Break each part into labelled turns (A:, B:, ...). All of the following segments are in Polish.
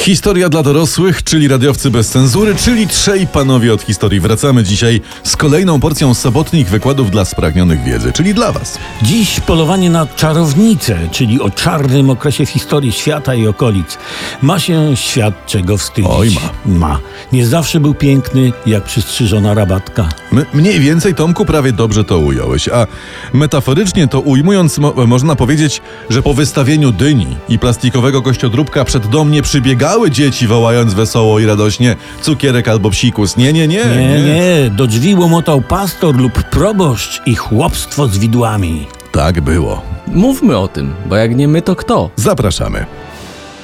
A: Historia dla dorosłych, czyli radiowcy bez cenzury, czyli trzej panowie od historii. Wracamy dzisiaj z kolejną porcją sobotnich wykładów dla spragnionych wiedzy, czyli dla was.
B: Dziś polowanie na czarownicę, czyli o czarnym okresie w historii świata i okolic. Ma się świat czego wstydzić.
A: Oj, ma.
B: Ma. Nie zawsze był piękny, jak przystrzyżona rabatka.
A: M- mniej więcej, Tomku, prawie dobrze to ująłeś, a metaforycznie to ujmując, mo- można powiedzieć, że po wystawieniu dyni i plastikowego kościodróbka przed dom nie przybiegały dzieci wołając wesoło i radośnie cukierek albo psikus. Nie, nie, nie.
B: E, Nie, nie, do drzwi łomotał pastor lub proboszcz i chłopstwo z widłami.
A: Tak było.
C: Mówmy o tym, bo jak nie my, to kto?
A: Zapraszamy.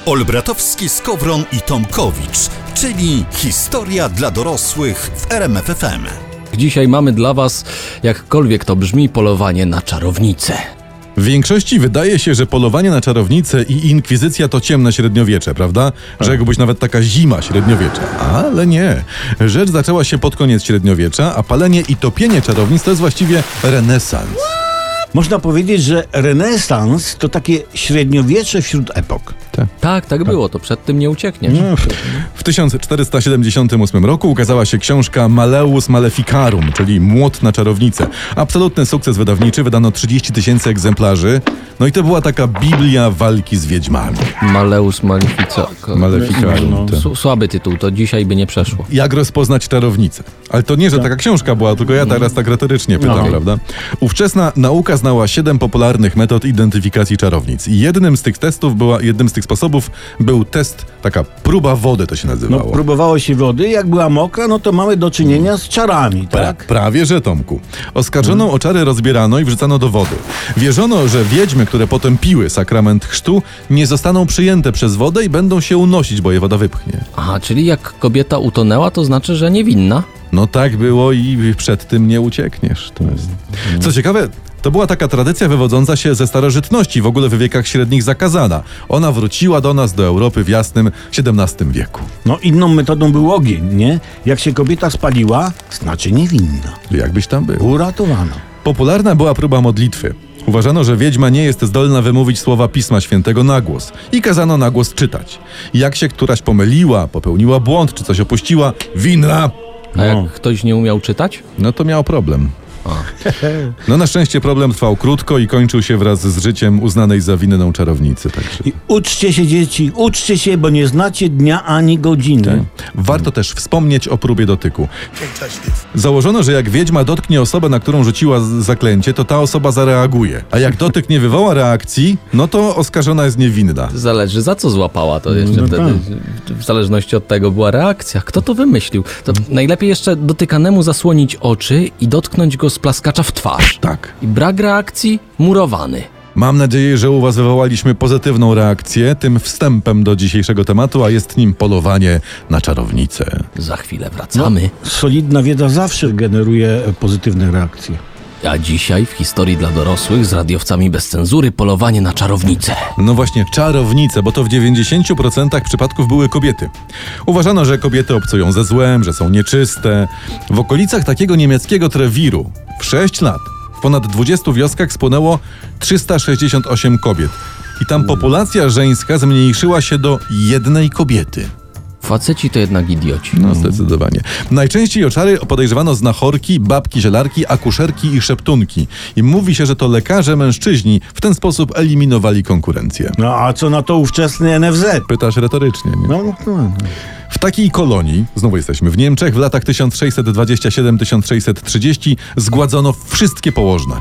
D: Olbratowski, Skowron i Tomkowicz, czyli historia dla dorosłych w RMFFM.
C: Dzisiaj mamy dla was, jakkolwiek to brzmi, polowanie na czarownicę.
A: W większości wydaje się, że polowanie na czarownice i inkwizycja to ciemne średniowiecze, prawda? Rzekłbyś nawet taka zima średniowiecza. Ale nie. Rzecz zaczęła się pod koniec średniowiecza, a palenie i topienie czarownic to jest właściwie renesans.
B: Można powiedzieć, że renesans to takie średniowiecze wśród epok.
C: Tak, tak było, to przed tym nie uciekniesz.
A: W 1478 roku ukazała się książka Maleus Maleficarum, czyli Młot na czarownicę. Absolutny sukces wydawniczy, wydano 30 tysięcy egzemplarzy. No i to była taka Biblia walki z wiedźmami.
C: Maleus
A: No,
C: Malefico.
A: Maleficarum. te.
C: S- Słaby tytuł, to dzisiaj by nie przeszło.
A: Jak rozpoznać czarownicę? Ale to nie, że taka książka była, tylko ja teraz tak retorycznie pytam,
C: Okej.
A: prawda? Ówczesna nauka znała siedem popularnych metod identyfikacji czarownic. I jednym z tych testów była, jednym z tych sposobów był test, taka próba wody to się
B: No,
A: nazywało.
B: próbowało się wody, jak była mokra, no to mamy do czynienia z czarami, tak?
A: Pra- prawie że, Tomku. Oskarżoną o czary rozbierano i wrzucano do wody. Wierzono, że wiedźmy, które potępiły sakrament chrztu, nie zostaną przyjęte przez wodę i będą się unosić, bo je woda wypchnie.
C: Aha, czyli jak kobieta utonęła, to znaczy, że niewinna?
A: No tak było i przed tym nie uciekniesz. To jest. Co ciekawe, to była taka tradycja wywodząca się ze starożytności, w ogóle w wiekach średnich zakazana. Ona wróciła do nas, do Europy w jasnym XVII wieku.
B: No inną metodą był ogień, nie? Jak się kobieta spaliła, znaczy niewinna.
A: Jakbyś tam był.
B: Uratowana.
A: Popularna była próba modlitwy. Uważano, że wiedźma nie jest zdolna wymówić słowa Pisma Świętego na głos i kazano na głos czytać. Jak się któraś pomyliła, popełniła błąd czy coś opuściła, winna,
C: A jak ktoś nie umiał czytać?
A: no to miał problem. No na szczęście problem trwał krótko i kończył się wraz z życiem uznanej za winną czarownicy. Także.
B: I uczcie się dzieci, uczcie się, bo nie znacie dnia ani godziny.
A: Warto też wspomnieć o próbie dotyku. Założono, że jak wiedźma dotknie osobę, na którą rzuciła z- zaklęcie, to ta osoba zareaguje. A jak dotyk nie wywoła reakcji, no to oskarżona jest niewinna.
C: Zależy za co złapała to jeszcze
A: No
C: wtedy.
A: tak.
C: W zależności od tego była reakcja. Kto to wymyślił? To
A: Mhm.
C: najlepiej jeszcze dotykanemu zasłonić oczy i dotknąć go z plaskacza w twarz.
A: Tak.
C: I brak reakcji murowany.
A: Mam nadzieję, że u Was wywołaliśmy pozytywną reakcję tym wstępem do dzisiejszego tematu, a jest nim polowanie na czarownicę.
C: Za chwilę wracamy.
B: Solidna wiedza zawsze generuje e, pozytywne reakcje.
A: No.
C: A dzisiaj w historii dla dorosłych z radiowcami bez cenzury polowanie na czarownicę.
A: No właśnie, czarownice, bo to w 90% przypadków były kobiety. Uważano, że kobiety obcują ze złem, że są nieczyste. W okolicach takiego niemieckiego Trewiru w 6 lat w ponad 20 wioskach spłonęło 368 kobiet. I tam populacja żeńska zmniejszyła się do jednej kobiety.
C: Faceci to jednak idioci.
A: No, zdecydowanie. Najczęściej o czary podejrzewano znachorki, babki zielarki, akuszerki i szeptunki. I mówi się, że to lekarze mężczyźni w ten sposób eliminowali konkurencję.
B: No a co na to ówczesny NFZ?
A: Pytasz retorycznie, nie?
B: No, no, no.
A: W takiej kolonii, znowu jesteśmy w Niemczech, w latach 1627-1630 zgładzono wszystkie położne.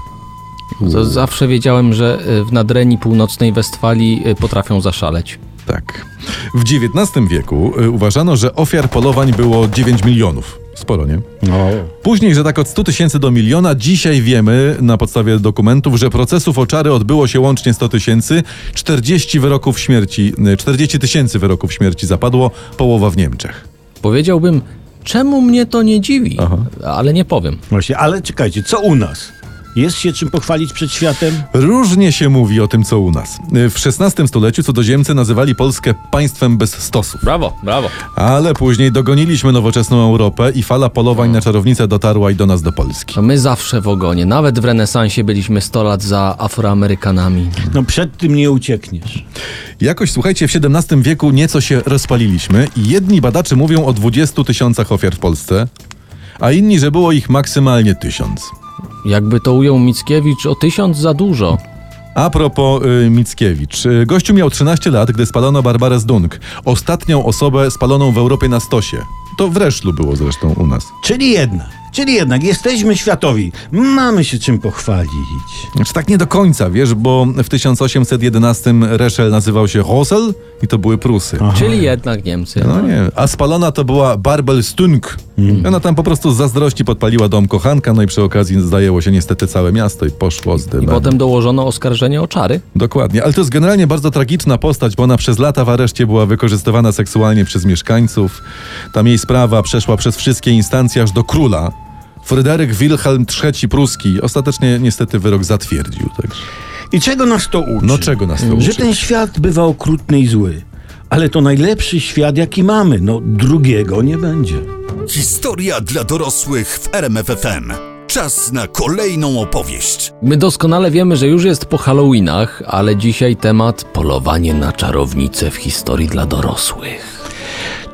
C: To zawsze wiedziałem, że y, w nadrenii północnej Westfalii y, potrafią zaszaleć.
A: Tak. W XIX wieku y, uważano, że ofiar polowań było 9 milionów. Z sporo, nie?
B: No.
A: Później, że tak od 100 tysięcy do miliona, dzisiaj wiemy na podstawie dokumentów, że procesów o czary odbyło się łącznie 100 tysięcy, 40 wyroków śmierci, y, 40 tysięcy wyroków śmierci zapadło, połowa w Niemczech.
C: Powiedziałbym, czemu mnie to nie dziwi, ale nie powiem.
B: Właśnie, ale czekajcie, co u nas? Jest się czym pochwalić przed światem?
A: Różnie się mówi o tym, co u nas. Y, W XVI stuleciu cudzoziemcy nazywali Polskę państwem bez stosów.
C: Brawo, brawo.
A: Ale później dogoniliśmy nowoczesną Europę i fala polowań na czarownicę dotarła i do nas do Polski.
C: To my zawsze w ogonie, nawet w renesansie byliśmy 100 lat za Afroamerykanami.
B: No przed tym nie uciekniesz.
A: Jakoś, słuchajcie, w XVII wieku nieco się rozpaliliśmy i jedni badacze mówią o 20 tysiącach ofiar w Polsce, a inni, że było ich maksymalnie tysiąc.
C: Jakby to ujął Mickiewicz o tysiąc za dużo.
A: A propos y, Mickiewicz. Y, gościu miał 13 lat, gdy spalono Barbarę Zdunk, ostatnią osobę spaloną w Europie na stosie. To w Reszlu było zresztą u nas.
B: Czyli jednak, czyli jednak, jesteśmy światowi. Mamy się czym pochwalić.
A: Znaczy tak nie do końca, wiesz, bo w 1811 Reszel nazywał się Rosel i to były Prusy.
C: Czyli jednak Niemcy.
A: No nie, a spalona to była Barbel Stunk.
B: Mm.
A: I Ona tam po prostu z zazdrości podpaliła dom kochanka, no i przy okazji zajęło się niestety całe miasto i poszło z
C: I
A: dymem.
C: potem dołożono oskarżenie o czary.
A: Dokładnie, ale to jest generalnie bardzo tragiczna postać, bo ona przez lata w areszcie była wykorzystywana seksualnie przez mieszkańców. Tam jej sprawa przeszła przez wszystkie instancje aż do króla. Fryderyk Wilhelm III Pruski ostatecznie niestety wyrok zatwierdził. Także.
B: I czego nas to uczy?
A: No czego nas to
B: Że
A: uczy?
B: ten świat bywa okrutny i zły. Ale to najlepszy świat, jaki mamy. No drugiego nie będzie.
D: Historia dla dorosłych w RMFFM. Czas na kolejną opowieść.
C: My doskonale wiemy, że już jest po Halloweenach, ale dzisiaj temat polowanie na czarownice w historii dla dorosłych.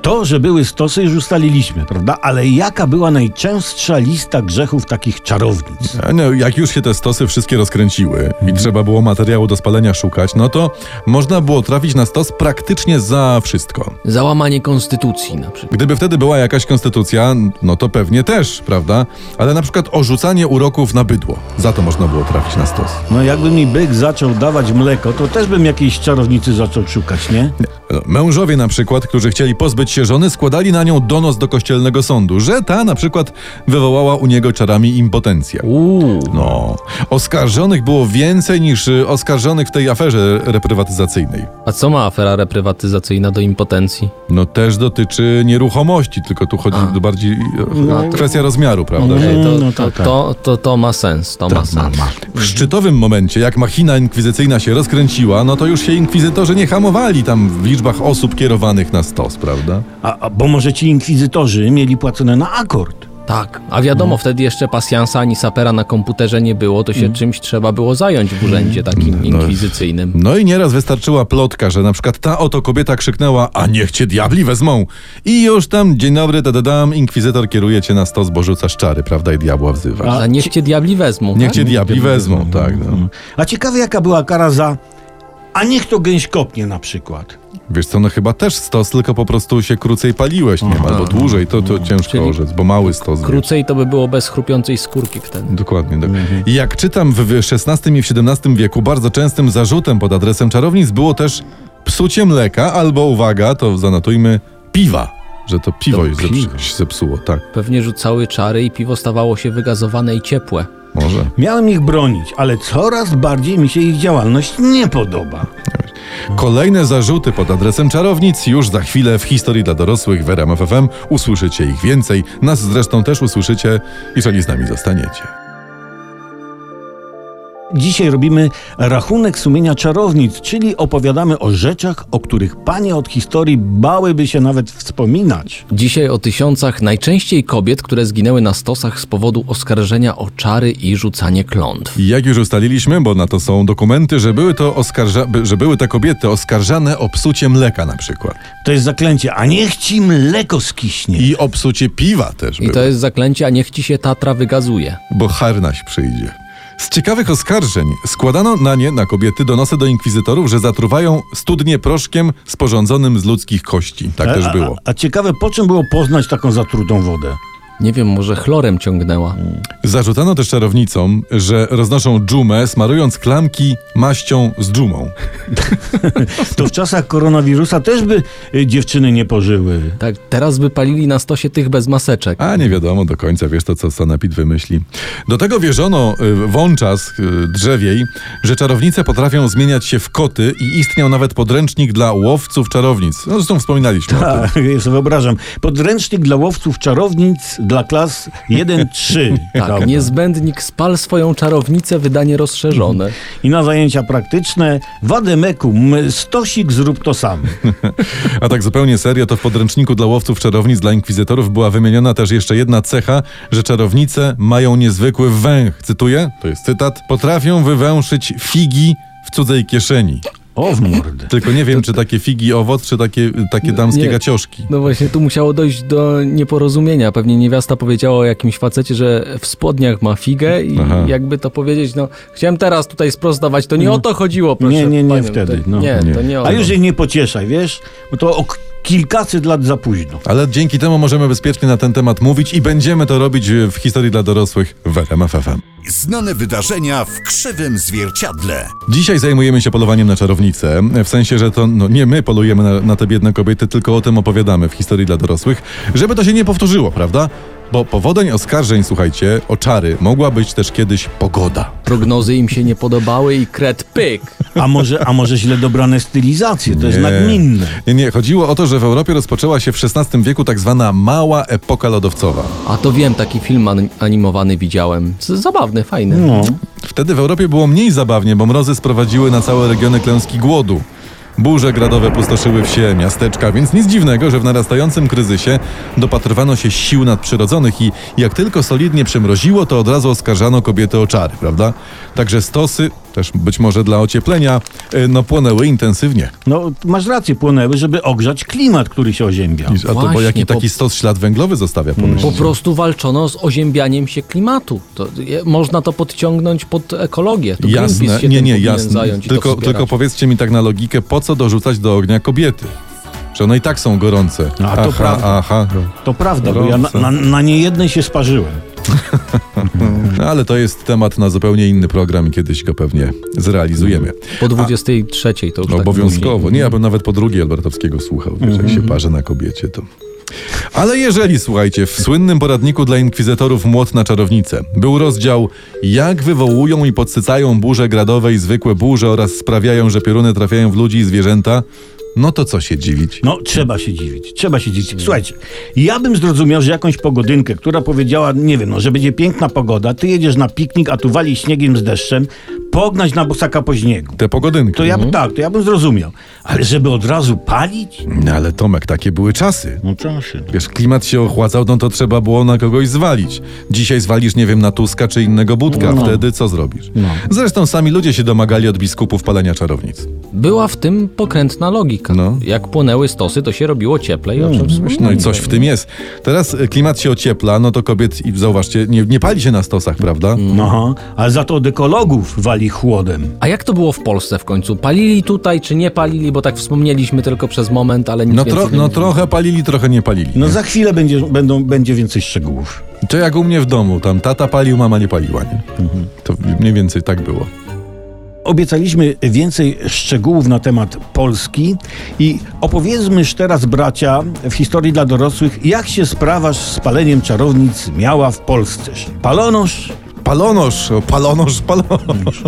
B: To, że były stosy, już ustaliliśmy, prawda? Ale jaka była najczęstsza lista grzechów takich czarownic?
A: A No, jak już się te stosy wszystkie rozkręciły i trzeba było materiału do spalenia szukać, no to można było trafić na stos praktycznie za wszystko.
C: Załamanie konstytucji na przykład.
A: Gdyby wtedy była jakaś konstytucja, no to pewnie też, prawda? Ale na przykład orzucanie uroków na bydło. Za to można było trafić na stos.
B: No jakby mi byk zaczął dawać mleko, to też bym jakiejś czarownicy zaczął szukać, nie?
A: No, Mężowie na przykład, którzy chcieli pozbyć się żony, składali na nią donos do kościelnego sądu, że ta na przykład wywołała u niego czarami impotencję.
C: Uuu.
A: No, oskarżonych było więcej niż y, oskarżonych w tej aferze reprywatyzacyjnej.
C: A co ma afera reprywatyzacyjna do impotencji?
A: No też dotyczy nieruchomości, tylko tu chodzi bardziej o kwestia rozmiaru, prawda?
C: Okej,
A: Że
C: to,
B: no
C: to,
B: tak, tak.
C: to, to, to ma sens, to ma sens.
A: W szczytowym momencie, jak machina inkwizycyjna się rozkręciła, no to już się inkwizytorzy nie hamowali tam w liczbach osób kierowanych na stos, prawda?
B: A, a bo może ci inkwizytorzy mieli płacone na akord.
C: Tak, a wiadomo, wtedy jeszcze pasjansa ani sapera na komputerze nie było, to się czymś trzeba było zająć w urzędzie takim inkwizycyjnym.
A: No i nieraz wystarczyła plotka, że na przykład ta oto kobieta krzyknęła, a niech cię diabli wezmą. I już tam, dzień dobry, da, da, dam, inkwizytor kieruje cię na stos, bo rzucasz czary, prawda, i diabła wzywa.
C: A niech cię diabli wezmą.
A: Niech
C: tak?
A: cię diabli wezmą, tak. No.
B: A ciekawe jaka była kara za... A niech to gęś kopnie na przykład.
A: Wiesz co, no chyba też stos, tylko po prostu się krócej paliłeś, nie wiem, albo dłużej, to, to ciężko
C: Mhm. Czyli
A: orzec, bo mały stos. wiesz.
C: Krócej to by było bez chrupiącej skórki wtedy.
A: Dokładnie tak.
C: Mhm.
A: I Jak czytam w w XVI i w XVII wieku, bardzo częstym zarzutem pod adresem czarownic było też psucie mleka albo, uwaga, to zanotujmy, piwa. Że to piwo
C: To
A: jest
C: piwo.
A: zepsu- się zepsuło, tak,
C: Pewnie rzucały czary i piwo stawało się wygazowane i ciepłe.
A: może.
C: Mhm.
B: Miałem ich bronić, ale coraz bardziej mi się ich działalność nie podoba.
A: Kolejne zarzuty pod adresem czarownic już za chwilę w historii dla dorosłych w RMF FM. Usłyszycie ich więcej. Nas zresztą też usłyszycie, jeżeli z nami zostaniecie.
B: Dzisiaj robimy rachunek sumienia czarownic, czyli opowiadamy o rzeczach, o których panie od historii bałyby się nawet wspominać.
C: Dzisiaj o tysiącach najczęściej kobiet, które zginęły na stosach z powodu oskarżenia o czary i rzucanie klątw.
A: I Jak już ustaliliśmy, bo na to są dokumenty, że były, to oskarża- by- że były te kobiety oskarżane o psucie mleka na przykład.
B: To jest zaklęcie, a niech ci mleko skiśnie.
A: I o psucie piwa też
C: I
A: było,
C: to jest zaklęcie, a niech ci się Tatra wygazuje.
A: bo harnaś przyjdzie. Z ciekawych oskarżeń składano na nie, na kobiety, donosy do inkwizytorów, że zatruwają studnie proszkiem
B: E,
A: sporządzonym z ludzkich kości. Tak też było.
B: A, a ciekawe, po czym było poznać taką zatrutą wodę?
C: Nie wiem, może chlorem ciągnęła.
A: Zarzucano też czarownicom, że roznoszą dżumę, smarując klamki maścią z dżumą.
B: To w czasach koronawirusa też by y, dziewczyny nie pożyły.
C: Tak, teraz by palili na stosie tych bez maseczek.
A: A nie wiadomo do końca, wiesz to, co Sanepid wymyśli. Do tego wierzono y, wączas y, drzewiej, że czarownice potrafią zmieniać się w koty i istniał nawet podręcznik dla łowców czarownic. No, zresztą wspominaliśmy o tym.
B: Tak, ja sobie wyobrażam. Podręcznik dla łowców czarownic dla klas 1-3.
C: Tak, niezbędnik spal swoją czarownicę, wydanie rozszerzone.
B: I na zajęcia praktyczne Wademeku, m, stosik zrób to sam.
A: A tak zupełnie serio, to w podręczniku dla łowców czarownic dla inkwizytorów była wymieniona też jeszcze jedna cecha, że czarownice mają niezwykły węch. Cytuję, to jest cytat, potrafią wywęszyć figi w cudzej kieszeni.
B: O w mordę.
A: Tylko nie wiem, czy takie figi owoc, czy takie, takie damskie
C: Nie.
A: gacioszki.
C: No właśnie, tu musiało dojść do nieporozumienia. Pewnie niewiasta powiedziała o jakimś facecie, że w spodniach ma figę i
A: Aha.
C: jakby to powiedzieć, no chciałem teraz tutaj sprostować, to nie o to chodziło, proszę
B: No. Nie, nie, nie
C: panią.
B: wtedy,
C: To-
B: no.
C: nie,
A: Nie.
C: to nie o
B: A
C: to.
B: już jej nie pocieszaj, wiesz? Bo to o k- kilkaset lat za późno.
A: Ale dzięki temu możemy bezpiecznie na ten temat mówić i będziemy to robić e, w historii dla dorosłych w RMFFM.
D: Znane wydarzenia w krzywym zwierciadle.
A: Dzisiaj zajmujemy się polowaniem na czarownicę, w sensie, że to no, nie my polujemy na, na te biedne kobiety, tylko o tym opowiadamy w historii dla dorosłych, żeby to się nie powtórzyło, prawda? Bo powodem oskarżeń, słuchajcie, o czary mogła być też kiedyś pogoda.
C: Prognozy im się nie podobały i kret pyk.
B: A może, a może źle dobrane stylizacje, to jest
A: Nie.
B: nagminne.
A: Nie, nie, chodziło o to, że w Europie rozpoczęła się w XVI wieku tak zwana mała epoka lodowcowa.
C: A to wiem, taki film an- animowany widziałem. Z- Zabawny, fajny.
B: No.
A: Wtedy w Europie było mniej zabawnie, bo mrozy sprowadziły na całe regiony klęski głodu. Burze gradowe pustoszyły wsie, miasteczka, więc nic dziwnego, że w narastającym kryzysie dopatrywano się sił nadprzyrodzonych i jak tylko solidnie przymroziło, to od razu oskarżano kobiety o czary, prawda? Także stosy, też być może dla ocieplenia, y, no płonęły intensywnie.
B: No, masz rację, płonęły, żeby ogrzać klimat, który się oziębiał.
A: I- A to bo
C: Właśnie,
A: jaki
C: po-
A: taki stos ślad węglowy zostawia, pomyślcie.
C: Po prostu walczono z oziębianiem się klimatu. To, je, można to podciągnąć pod ekologię. To Greenpeace się
A: nie,
C: tym
A: nie,
C: powinien
A: jasne.
C: Zająć i to
A: tylko,
C: wspierać.
A: tylko powiedzcie mi tak na logikę, po co dorzucać do ognia kobiety? Że one i tak są gorące.
B: No, A, to
A: aha,
B: prawda.
A: aha.
B: To prawda, bo ja na, na, na niejednej się sparzyłem.
A: No, ale to jest temat na zupełnie inny program i kiedyś go pewnie zrealizujemy.
C: Po 23 to już tak
A: No, Obowiązkowo.
C: później.
A: nie, ja bym nawet po drugiej Albertowskiego słuchał, wiesz, jak
B: Mhm.
A: się parzy na kobiecie, to... Ale jeżeli, słuchajcie, w słynnym poradniku dla inkwizytorów Młot na czarownicę był rozdział Jak wywołują i podsycają burze gradowe i zwykłe burze oraz sprawiają, że pioruny trafiają w ludzi i zwierzęta, no to co się dziwić?
B: No, trzeba się dziwić, trzeba się dziwić. Słuchajcie, ja bym zrozumiał, że jakąś pogodynkę, która powiedziała, nie wiem, no, że będzie piękna pogoda, ty jedziesz na piknik, a tu wali śniegiem z deszczem, pognać na bosaka po śniegu.
A: Te pogodynki.
B: To ja bym, tak, to ja bym zrozumiał. Ale żeby od razu palić?
A: No ale Tomek, takie były czasy.
B: No proszę.
A: Wiesz, klimat się ochładzał, no to trzeba było na kogoś zwalić. Dzisiaj zwalisz, nie wiem, na Tuska czy innego Budka.
B: No.
A: Wtedy co zrobisz? Zresztą sami ludzie się domagali od biskupów palenia czarownic.
C: Była w tym pokrętna logika.
A: No.
C: Jak płonęły stosy, to się robiło cieplej. o czym wspomniałem.
A: No i coś w tym jest. Teraz e, klimat się ociepla, no to kobiet, i zauważcie, nie, nie pali się na stosach, prawda?
B: Mm.
A: No
B: Aha, ale za to od ekologów wali chłodem.
C: A jak to było w Polsce w końcu? Palili tutaj, czy nie palili? Bo tak wspomnieliśmy tylko przez moment, ale nic
A: No,
C: więcej
A: tro,
C: nie
A: no trochę palili, trochę nie palili.
B: No za chwilę będzie, będą, będzie więcej szczegółów.
A: To jak u mnie w domu, tam tata palił, mama nie paliła, nie?
B: Mhm.
A: To mniej więcej tak było.
B: Obiecaliśmy więcej szczegółów na temat Polski i opowiedzmyż teraz, bracia, w historii dla dorosłych, jak się sprawa z paleniem czarownic miała w Polsce. Palonosz,
A: Palonosz, o, palonosz, palonosz,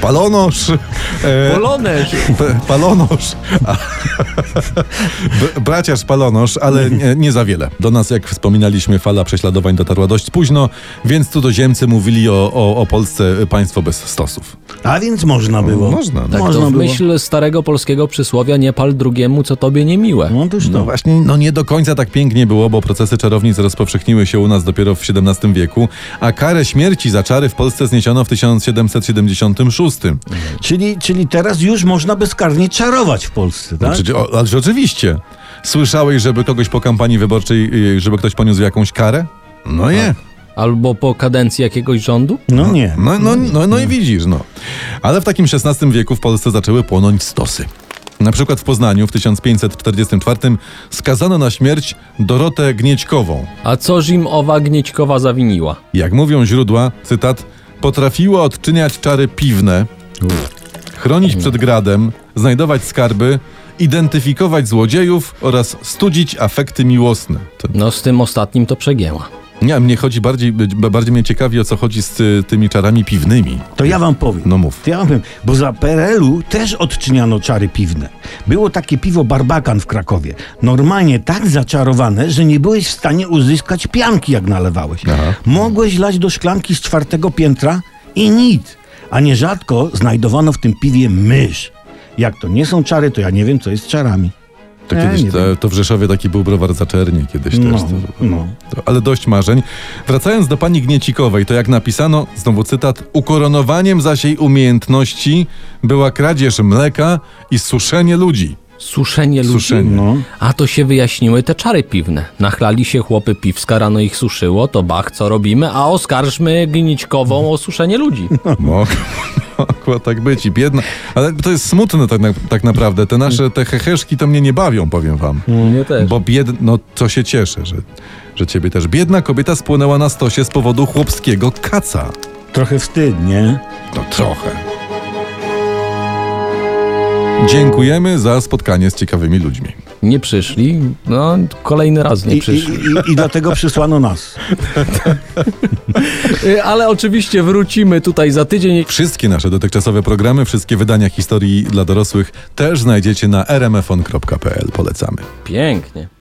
A: palonosz. E,
C: Polonez!
A: P- Palonosz. A- Br- Braciarz Palonosz, ale nie, nie za wiele. Do nas, jak wspominaliśmy, fala prześladowań dotarła dość późno, więc cudzoziemcy mówili o, o, o Polsce państwo bez stosów.
B: a więc można było.
A: można, tak
C: Tak
B: można
C: to w
B: było.
C: myśl starego polskiego przysłowia nie pal drugiemu, co tobie niemiłe.
B: No to już
A: No
B: to.
A: właśnie, no nie do końca tak pięknie było, bo procesy czarownic rozpowszechniły się u nas dopiero w XVII wieku, a karę śmierci za czary w Polsce zniesiono w 1776.
B: Czyli, czyli teraz już można bezkarnie czarować w Polsce, tak?
A: No Przecież, o, ale oczywiście. Słyszałeś, żeby kogoś po kampanii wyborczej, y, żeby ktoś poniósł jakąś karę? No nie.
C: Albo po kadencji jakiegoś rządu?
B: No nie.
A: No, no, no, no i widzisz, no. Ale w takim XVI wieku w Polsce zaczęły płonąć stosy. Na przykład w Poznaniu w 1544 skazano na śmierć Dorotę Gniećkową.
C: A coż im owa Gniećkowa zawiniła?
A: Jak mówią źródła, cytat, potrafiła odczyniać czary piwne, chronić przed gradem, znajdować skarby, identyfikować złodziejów oraz studzić afekty miłosne. To,
C: No z tym ostatnim to przegięła.
A: nie, mnie chodzi bardziej, bardziej mnie ciekawi o co chodzi z y, tymi czarami piwnymi.
B: To ja wam powiem.
A: No mów.
B: To ja wam powiem, bo za PRL-u też odczyniano czary piwne. Było takie piwo barbakan w Krakowie. Normalnie tak zaczarowane, że nie byłeś w stanie uzyskać pianki, jak nalewałeś.
A: Aha.
B: Mogłeś lać do szklanki z czwartego piętra i nic. A nierzadko znajdowano w tym piwie mysz. Jak to nie są czary, to ja nie wiem, co jest czarami.
A: To,
B: Ja
A: kiedyś,
B: nie
A: to,
B: wiem.
A: to w Rzeszowie taki był browar Zaczernie kiedyś
B: No,
A: też. To,
B: no.
A: to, ale dość marzeń. Wracając do pani Gniecikowej, to jak napisano, znowu cytat, ukoronowaniem zaś jej umiejętności była kradzież mleka i suszenie ludzi.
C: Suszenie ludzi.
A: Suszenie.
B: No.
C: A to się wyjaśniły te czary piwne. Nachlali się chłopy piwska, rano ich suszyło, to bach, co robimy, a oskarżmy Gnićkową o suszenie ludzi.
B: No.
A: Mogło, mogło tak być i biedna. Ale to jest smutne tak, na, tak naprawdę. Te nasze, te heheszki to mnie nie bawią, powiem wam.
B: No.
C: Mnie też.
A: Bo biedna, no to się cieszę, że, że ciebie też. Biedna kobieta spłonęła na stosie z powodu chłopskiego kaca.
B: Trochę wstyd, nie?
A: To trochę. Dziękujemy za spotkanie z ciekawymi ludźmi.
C: Nie przyszli, no kolejny raz
B: I,
C: nie
B: i,
C: przyszli.
B: i, I dlatego przysłano nas.
C: Y, Ale oczywiście wrócimy tutaj za tydzień.
A: Wszystkie nasze dotychczasowe programy, wszystkie wydania historii dla dorosłych też znajdziecie na rmfon.pl. Polecamy.
C: Pięknie.